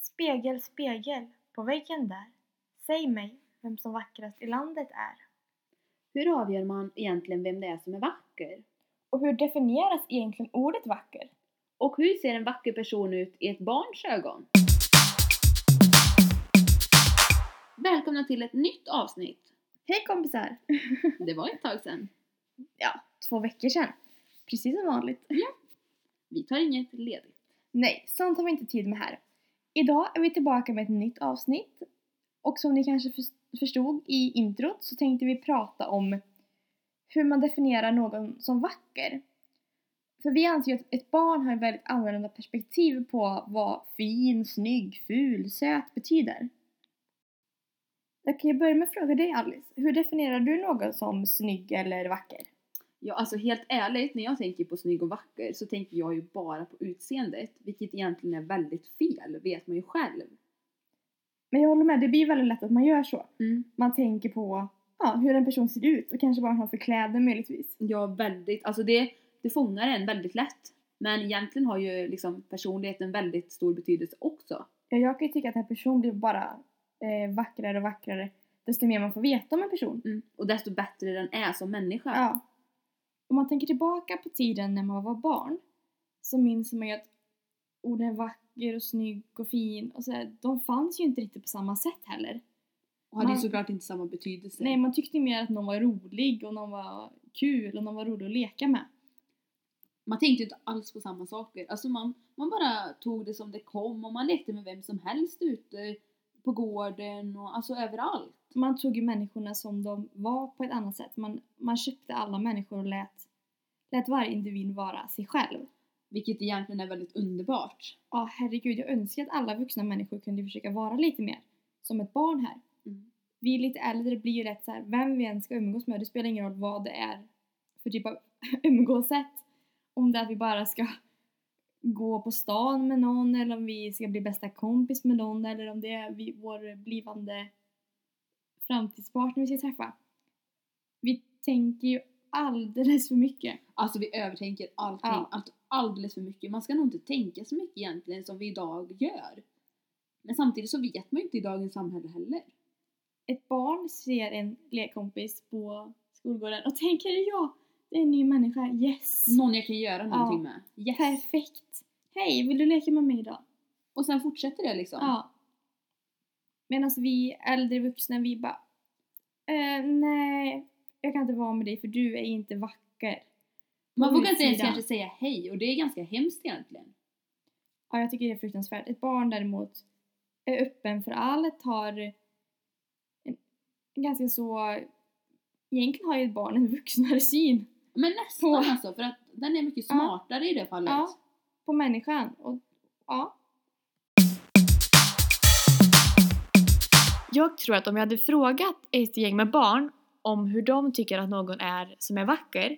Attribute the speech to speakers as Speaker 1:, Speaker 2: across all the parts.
Speaker 1: Spegel, spegel på väggen där. Säg mig vem som vackrast i landet är.
Speaker 2: Hur avgör man egentligen vem det är som är vacker?
Speaker 3: Och hur definieras egentligen ordet vacker?
Speaker 2: Och hur ser en vacker person ut i ett barns ögon? Välkomna till ett nytt avsnitt.
Speaker 3: Hej kompisar!
Speaker 2: Det var ett tag sedan.
Speaker 3: Ja, två veckor sedan. Precis som vanligt.
Speaker 2: Vi tar inget ledigt.
Speaker 3: Nej, sånt har vi inte tid med här. Idag är vi tillbaka med ett nytt avsnitt. Och som ni kanske förs- förstod i introt så tänkte vi prata om hur man definierar någon som vacker. För vi anser ju att ett barn har ett väldigt annorlunda perspektiv på vad fin, snygg, ful, söt betyder. Jag kan ju börja med att fråga dig Alice, hur definierar du någon som snygg eller vacker?
Speaker 2: Ja, alltså helt ärligt, när jag tänker på snygg och vacker så tänker jag ju bara på utseendet, vilket egentligen är väldigt fel, vet man ju själv.
Speaker 3: Men jag håller med, det blir väldigt lätt att man gör så.
Speaker 2: Mm.
Speaker 3: man tänker på ja, hur en person ser ut och kanske vad han har för kläder möjligtvis.
Speaker 2: Ja, väldigt. Alltså det, det fångar en väldigt lätt. Men egentligen har ju liksom personligheten väldigt stor betydelse också.
Speaker 3: Ja, jag kan ju tycka att en person blir bara eh, vackrare och vackrare desto mer man får veta om en person.
Speaker 2: Mm. Och desto bättre den är som människa.
Speaker 3: Ja. Om man tänker tillbaka på tiden när man var barn så minns man ju att orden vacker och snygg och fin och sådär, de fanns ju inte riktigt på samma sätt heller.
Speaker 2: Och hade ju
Speaker 3: Man-
Speaker 2: såklart inte samma betydelse.
Speaker 3: Nej, man tyckte mer att någon var rolig och någon var kul och någon var rolig att leka med.
Speaker 2: Man tänkte ju inte alls på samma saker. Alltså man, man bara tog det som det kom och man lekte med vem som helst ute på gården och alltså överallt.
Speaker 3: man tog ju människorna som de var på ett annat sätt. Man, man köpte alla människor och lät, lät varje individ vara sig själv.
Speaker 2: Vilket egentligen är väldigt underbart.
Speaker 3: Ja, herregud, jag önskar att alla vuxna människor kunde försöka vara lite mer som ett barn här.
Speaker 2: Mm.
Speaker 3: Vi lite äldre blir ju lätt så här, vem vi än ska umgås med, det spelar ingen roll vad det är för typ av umgåssätt. Om det är att vi bara ska gå på stan med någon eller om vi ska bli bästa kompis med någon eller om det är vi, vår blivande framtidspartner vi ska träffa. Vi tänker ju alldeles för mycket.
Speaker 2: Alltså vi övertänker allting
Speaker 3: Ja.
Speaker 2: allt, alldeles för mycket. Man ska nog inte tänka så mycket egentligen som vi idag gör. Men samtidigt så vet man ju inte i dagens samhälle heller.
Speaker 3: ett barn ser en lekkompis på skolgården och tänker ja, det är en ny människa, yes!
Speaker 2: Någon jag kan göra någonting med. Yes.
Speaker 3: Perfekt! Hej, vill du leka med mig idag?
Speaker 2: Och sen fortsätter det liksom.
Speaker 3: Ja. Medan vi äldre vuxna, vi bara eh, nej, jag kan inte vara med dig för du är inte vacker.
Speaker 2: Man
Speaker 3: på
Speaker 2: vågar inte ens
Speaker 3: utsidan.
Speaker 2: kanske säga hej och det är ganska hemskt egentligen.
Speaker 3: Ja, jag tycker det är fruktansvärt. Ett barn däremot är öppen för allt, har en, en ganska så... Egentligen har ju ett barn en vuxnare syn.
Speaker 2: Men nästan
Speaker 3: På-
Speaker 2: alltså för att den är mycket
Speaker 3: Ja.
Speaker 2: smartare i det fallet.
Speaker 3: Ja, på människan. Och, ja.
Speaker 1: Jag tror att om jag hade frågat ett gäng med barn om hur de tycker att någon är som är vacker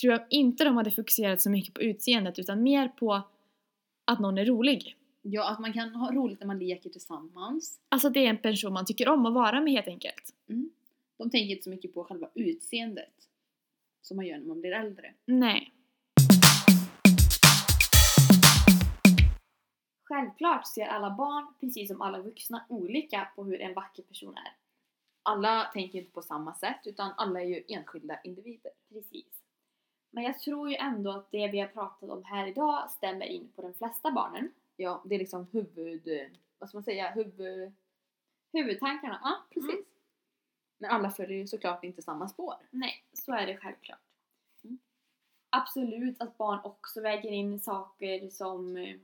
Speaker 1: tror jag inte de hade fokuserat så mycket på utseendet utan mer på att någon är rolig.
Speaker 2: Ja, att man kan ha roligt när man leker tillsammans.
Speaker 1: Alltså det är en person man tycker om att vara med helt enkelt.
Speaker 2: Mm. De tänker inte så mycket på själva utseendet som man gör när man blir äldre.
Speaker 1: Nej.
Speaker 3: Självklart ser alla barn, precis som alla vuxna, olika på hur en vacker person är.
Speaker 2: Alla tänker inte på samma sätt utan alla är ju enskilda individer.
Speaker 3: Precis. Men jag tror ju ändå att det vi har pratat om här idag stämmer in på de flesta barnen.
Speaker 2: Ja, det är liksom huvud... Vad ska man säga? Huvud...
Speaker 3: Huvudtankarna?
Speaker 2: Ja, precis. Men alla följer ju såklart inte samma spår.
Speaker 3: Nej, så är det självklart.
Speaker 2: Mm.
Speaker 3: Absolut att barn också väger in saker som eh,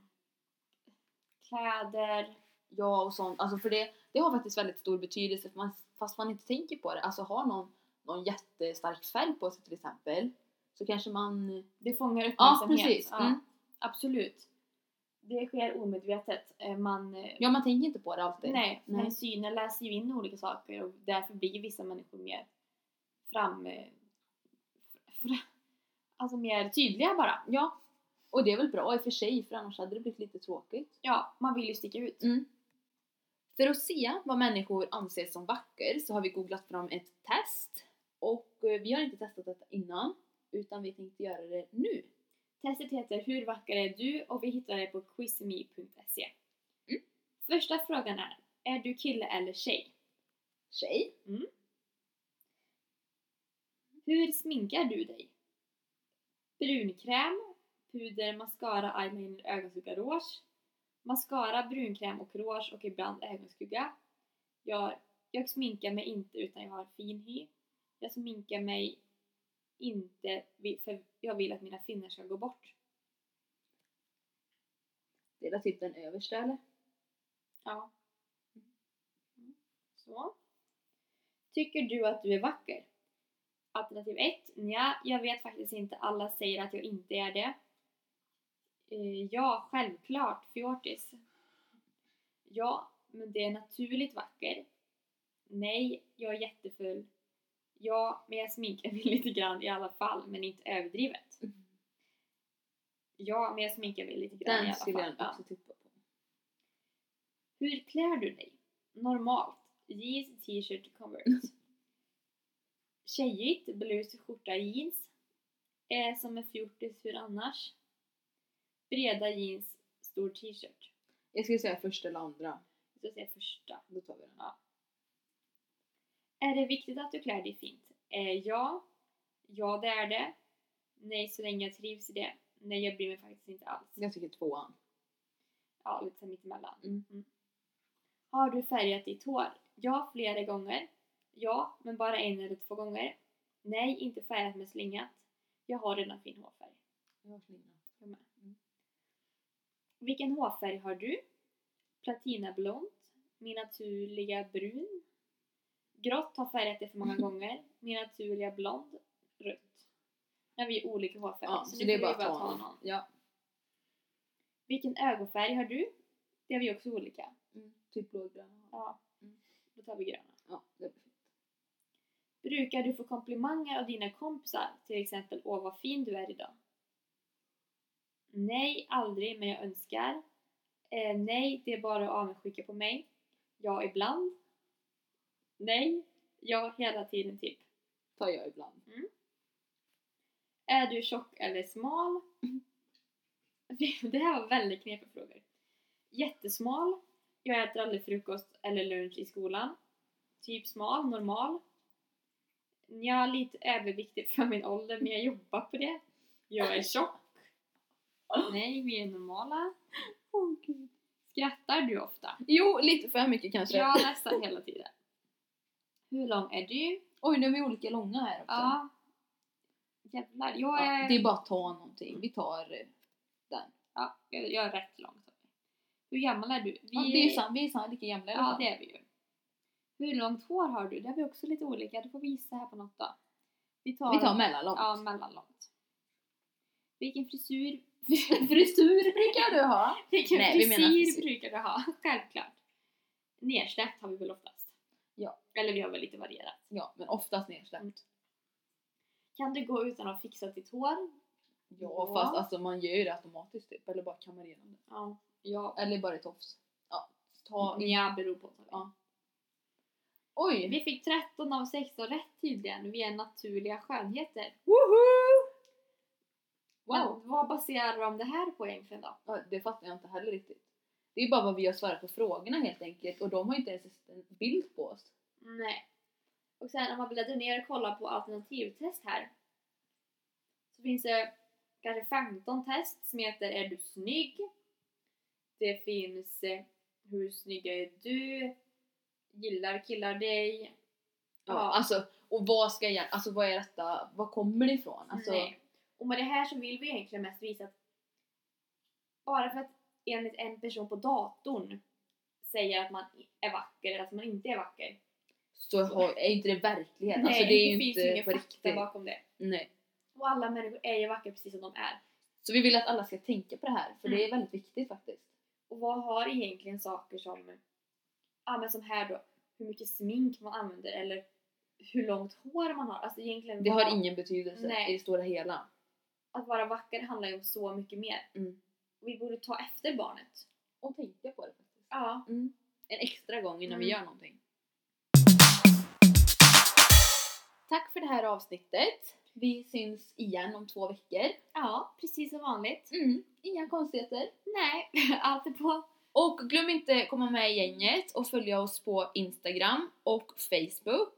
Speaker 3: kläder,
Speaker 2: Ja, och sånt. Alltså för det, det har faktiskt väldigt stor betydelse för man, fast man inte tänker på det. Alltså har någon, någon jättestark färg på sig till exempel så kanske man...
Speaker 3: Det fångar
Speaker 2: Ja,
Speaker 3: uppmärksamhet.
Speaker 2: precis.
Speaker 3: Ja,
Speaker 2: Mm.
Speaker 3: Absolut. Det sker omedvetet. Eh, Man,
Speaker 2: Ja, man tänker inte på det alltid.
Speaker 3: nej,
Speaker 2: nej.
Speaker 3: men synen läser ju in olika saker och därför blir vissa människor mer fram... eh, fr- Alltså mer tydliga bara.
Speaker 2: Ja, och det är väl bra i och för sig för annars hade det blivit lite tråkigt.
Speaker 3: Ja, man vill ju sticka ut.
Speaker 2: Mm. För att se vad människor anses som vacker så har vi googlat fram ett test. Och eh, vi har inte testat detta innan utan vi tänkte göra det nu.
Speaker 3: Testet heter Hur vacker är du? och vi hittar det på quizme.se.
Speaker 2: Mm.
Speaker 3: första frågan är, är du kille eller tjej?
Speaker 2: Tjej?
Speaker 3: Hur sminkar du dig? Brunkräm, puder, mascara, eyeliner, ögonskugga, rouge. Mascara, brunkräm och rouge och ibland ögonskugga. Jag, jag sminkar mig inte utan jag har fin hy. Jag sminkar mig inte vi- för jag vill att mina finnar ska gå bort.
Speaker 2: Det är väl typ den översta eller?
Speaker 3: Ja. Mm. Så. Tycker du att du är vacker? Alternativ 1. Nja, jag vet faktiskt inte. Alla säger att jag inte är det. Eh, ja, självklart. Fjortis. Ja, men det är naturligt vacker. Nej, jag är jättefull. Ja, men jag sminkar mig lite grann i alla fall, men inte överdrivet. Ja, men jag sminkar mig lite grann i
Speaker 2: Mm.
Speaker 3: alla
Speaker 2: Den
Speaker 3: fall.
Speaker 2: skulle jag
Speaker 3: Ja.
Speaker 2: också tippa på.
Speaker 3: Hur klär du dig? Normalt. Jeans, t-shirt, Converse. Tjejigt, blus, skjorta, jeans. Eh, som en fjortis, hur annars? Breda jeans, stor t-shirt.
Speaker 2: Jag skulle säga första eller andra.
Speaker 3: Så säger jag första.
Speaker 2: Då tar vi den.
Speaker 3: Är det viktigt att du klär dig fint? Eh, ja. Ja, det är det. Nej, så länge jag trivs i det. Nej, jag bryr mig faktiskt inte alls.
Speaker 2: Jag tycker tvåan.
Speaker 3: ja, lite så här mittemellan.
Speaker 2: Mm.
Speaker 3: Mm. Har du färgat ditt hår? Ja, flera gånger. Ja, men bara en eller två gånger. Nej, inte färgat men slingat. Jag har redan fin hårfärg.
Speaker 2: Jag har slingra.
Speaker 3: Jag med.
Speaker 2: Mm.
Speaker 3: Vilken hårfärg har du? Platinablont? Min naturliga brun? Grått har färgat det för många gånger. Min naturliga blond? Rött. När vi är olika hårfärger.
Speaker 2: Ja,
Speaker 3: så,
Speaker 2: så,
Speaker 3: nu
Speaker 2: det är
Speaker 3: får
Speaker 2: bara
Speaker 3: vi
Speaker 2: att ta någon. Ja,
Speaker 3: Vilken ögonfärg har du? Det har vi också olika.
Speaker 2: mm. typ blågröna.
Speaker 3: Ja.
Speaker 2: Mm.
Speaker 3: Då tar vi gröna.
Speaker 2: Ja, det blir fint.
Speaker 3: Brukar du få komplimanger av dina kompisar? Till exempel Åh vad fin du är idag. Nej, aldrig men jag önskar. Eh, nej, det är bara avundsjuka på mig. Ja, ibland. Nej, ja, hela tiden typ.
Speaker 2: Tar jag ibland.
Speaker 3: Är du tjock eller smal? Det här var väldigt knepiga frågor. Jättesmal. Jag äter aldrig frukost eller lunch i skolan. Typ smal, normal. Jag är lite överviktig för min ålder men jag jobbar på det. Jag är tjock. Nej, vi är normala. Skrattar du ofta?
Speaker 2: Jo, lite för mycket kanske.
Speaker 3: Ja, nästan hela tiden. Hur lång är du?
Speaker 2: Oj, nu är vi olika långa här också.
Speaker 3: Ja. Jävlar, jag är...
Speaker 2: Ja, det är bara att ta någonting. Vi tar... eh,
Speaker 3: Ja, jag, jag är rätt långt av dig. Hur gammal är du? Vi,
Speaker 2: Ja, det är ju sam, vi är sam, lika gamla i alla
Speaker 3: Ja,
Speaker 2: fall.
Speaker 3: det är vi ju. Hur långt hår har du? Det har vi också lite olika. Du får vi gissa här på något då. Vi tar,
Speaker 2: Vi tar mellanlångt.
Speaker 3: Ja, mellanlångt. Vilken frisyr,
Speaker 2: Frisyr brukar du ha.
Speaker 3: vilken
Speaker 2: Nej, vi
Speaker 3: frisyr,
Speaker 2: menar frisyr.
Speaker 3: brukar du ha? Självklart. Nersläppt har vi väl oftast?
Speaker 2: Ja.
Speaker 3: Eller vi har väl lite varierat.
Speaker 2: Ja, men oftast nedsläppt.
Speaker 3: Kan du gå utan att fixa ditt hår?
Speaker 2: Ja,
Speaker 3: Ja.
Speaker 2: fast alltså man gör ju det automatiskt typ. Eller bara kammar igenom det.
Speaker 3: Ja. Ja,
Speaker 2: Eller bara ett tofs. Ja, ta...
Speaker 3: ja beror på.
Speaker 2: Ja. Oj!
Speaker 3: Vi fick 13 av 16 rätt tydligen. Vi är naturliga skönheter.
Speaker 2: Woho! Wow!
Speaker 3: Men vad baserar de det här på egentligen då?
Speaker 2: Ja, det fattar jag inte heller riktigt. Det är bara vad vi har svarat på frågorna helt enkelt och de har ju inte ens en bild på oss.
Speaker 3: Nej. Och sen om man bläddrar ner och kollar på alternativtest här. Så finns det kanske 15 test som heter Är du snygg? Det finns eh, Hur snygg är du? Gillar killar dig?
Speaker 2: Ja.
Speaker 3: Ja.
Speaker 2: Alltså, och vad ska jag... Alltså vad är detta? Vad kommer det ifrån? Alltså,
Speaker 3: Nej. Och med det här så vill vi egentligen mest visa att bara för att enligt en person på datorn säger att man är vacker eller att man inte är vacker.
Speaker 2: så har, är inte det verklighet.
Speaker 3: Nej,
Speaker 2: alltså, det är ju
Speaker 3: finns
Speaker 2: inte
Speaker 3: ingen
Speaker 2: på
Speaker 3: fakta
Speaker 2: riktigt.
Speaker 3: bakom det.
Speaker 2: Nej.
Speaker 3: Och alla människor är ju vackra precis som de är.
Speaker 2: Så vi vill att alla ska tänka på det här för det är
Speaker 3: Mm.
Speaker 2: väldigt viktigt faktiskt.
Speaker 3: Och vad har egentligen saker som, ja men som här då, hur mycket smink man använder eller hur långt hår man har. Alltså egentligen,
Speaker 2: Det har
Speaker 3: vad-
Speaker 2: ingen betydelse
Speaker 3: Nej.
Speaker 2: i det stora hela.
Speaker 3: att vara vacker handlar ju om så mycket mer.
Speaker 2: Mm.
Speaker 3: Och vi borde ta efter barnet.
Speaker 2: Och tänka på det faktiskt.
Speaker 3: Ja.
Speaker 2: Mm. En extra gång innan vi
Speaker 3: Mm.
Speaker 2: gör någonting. Tack för det här avsnittet. Vi syns igen om två veckor.
Speaker 3: Ja, precis som vanligt.
Speaker 2: Mm. Inga konstigheter.
Speaker 3: Nej, allt är på
Speaker 2: Och glöm inte komma med i gänget och följa oss på Instagram och Facebook.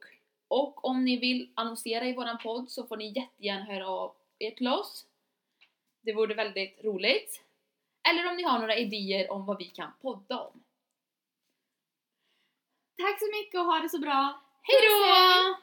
Speaker 2: Och om ni vill annonsera i våran podd så får ni jättegärna höra av er till oss. Det vore väldigt roligt. Eller om ni har några idéer om vad vi kan podda om.
Speaker 3: Tack så mycket och ha det så bra!
Speaker 2: Hejdå!
Speaker 3: Puss, hej!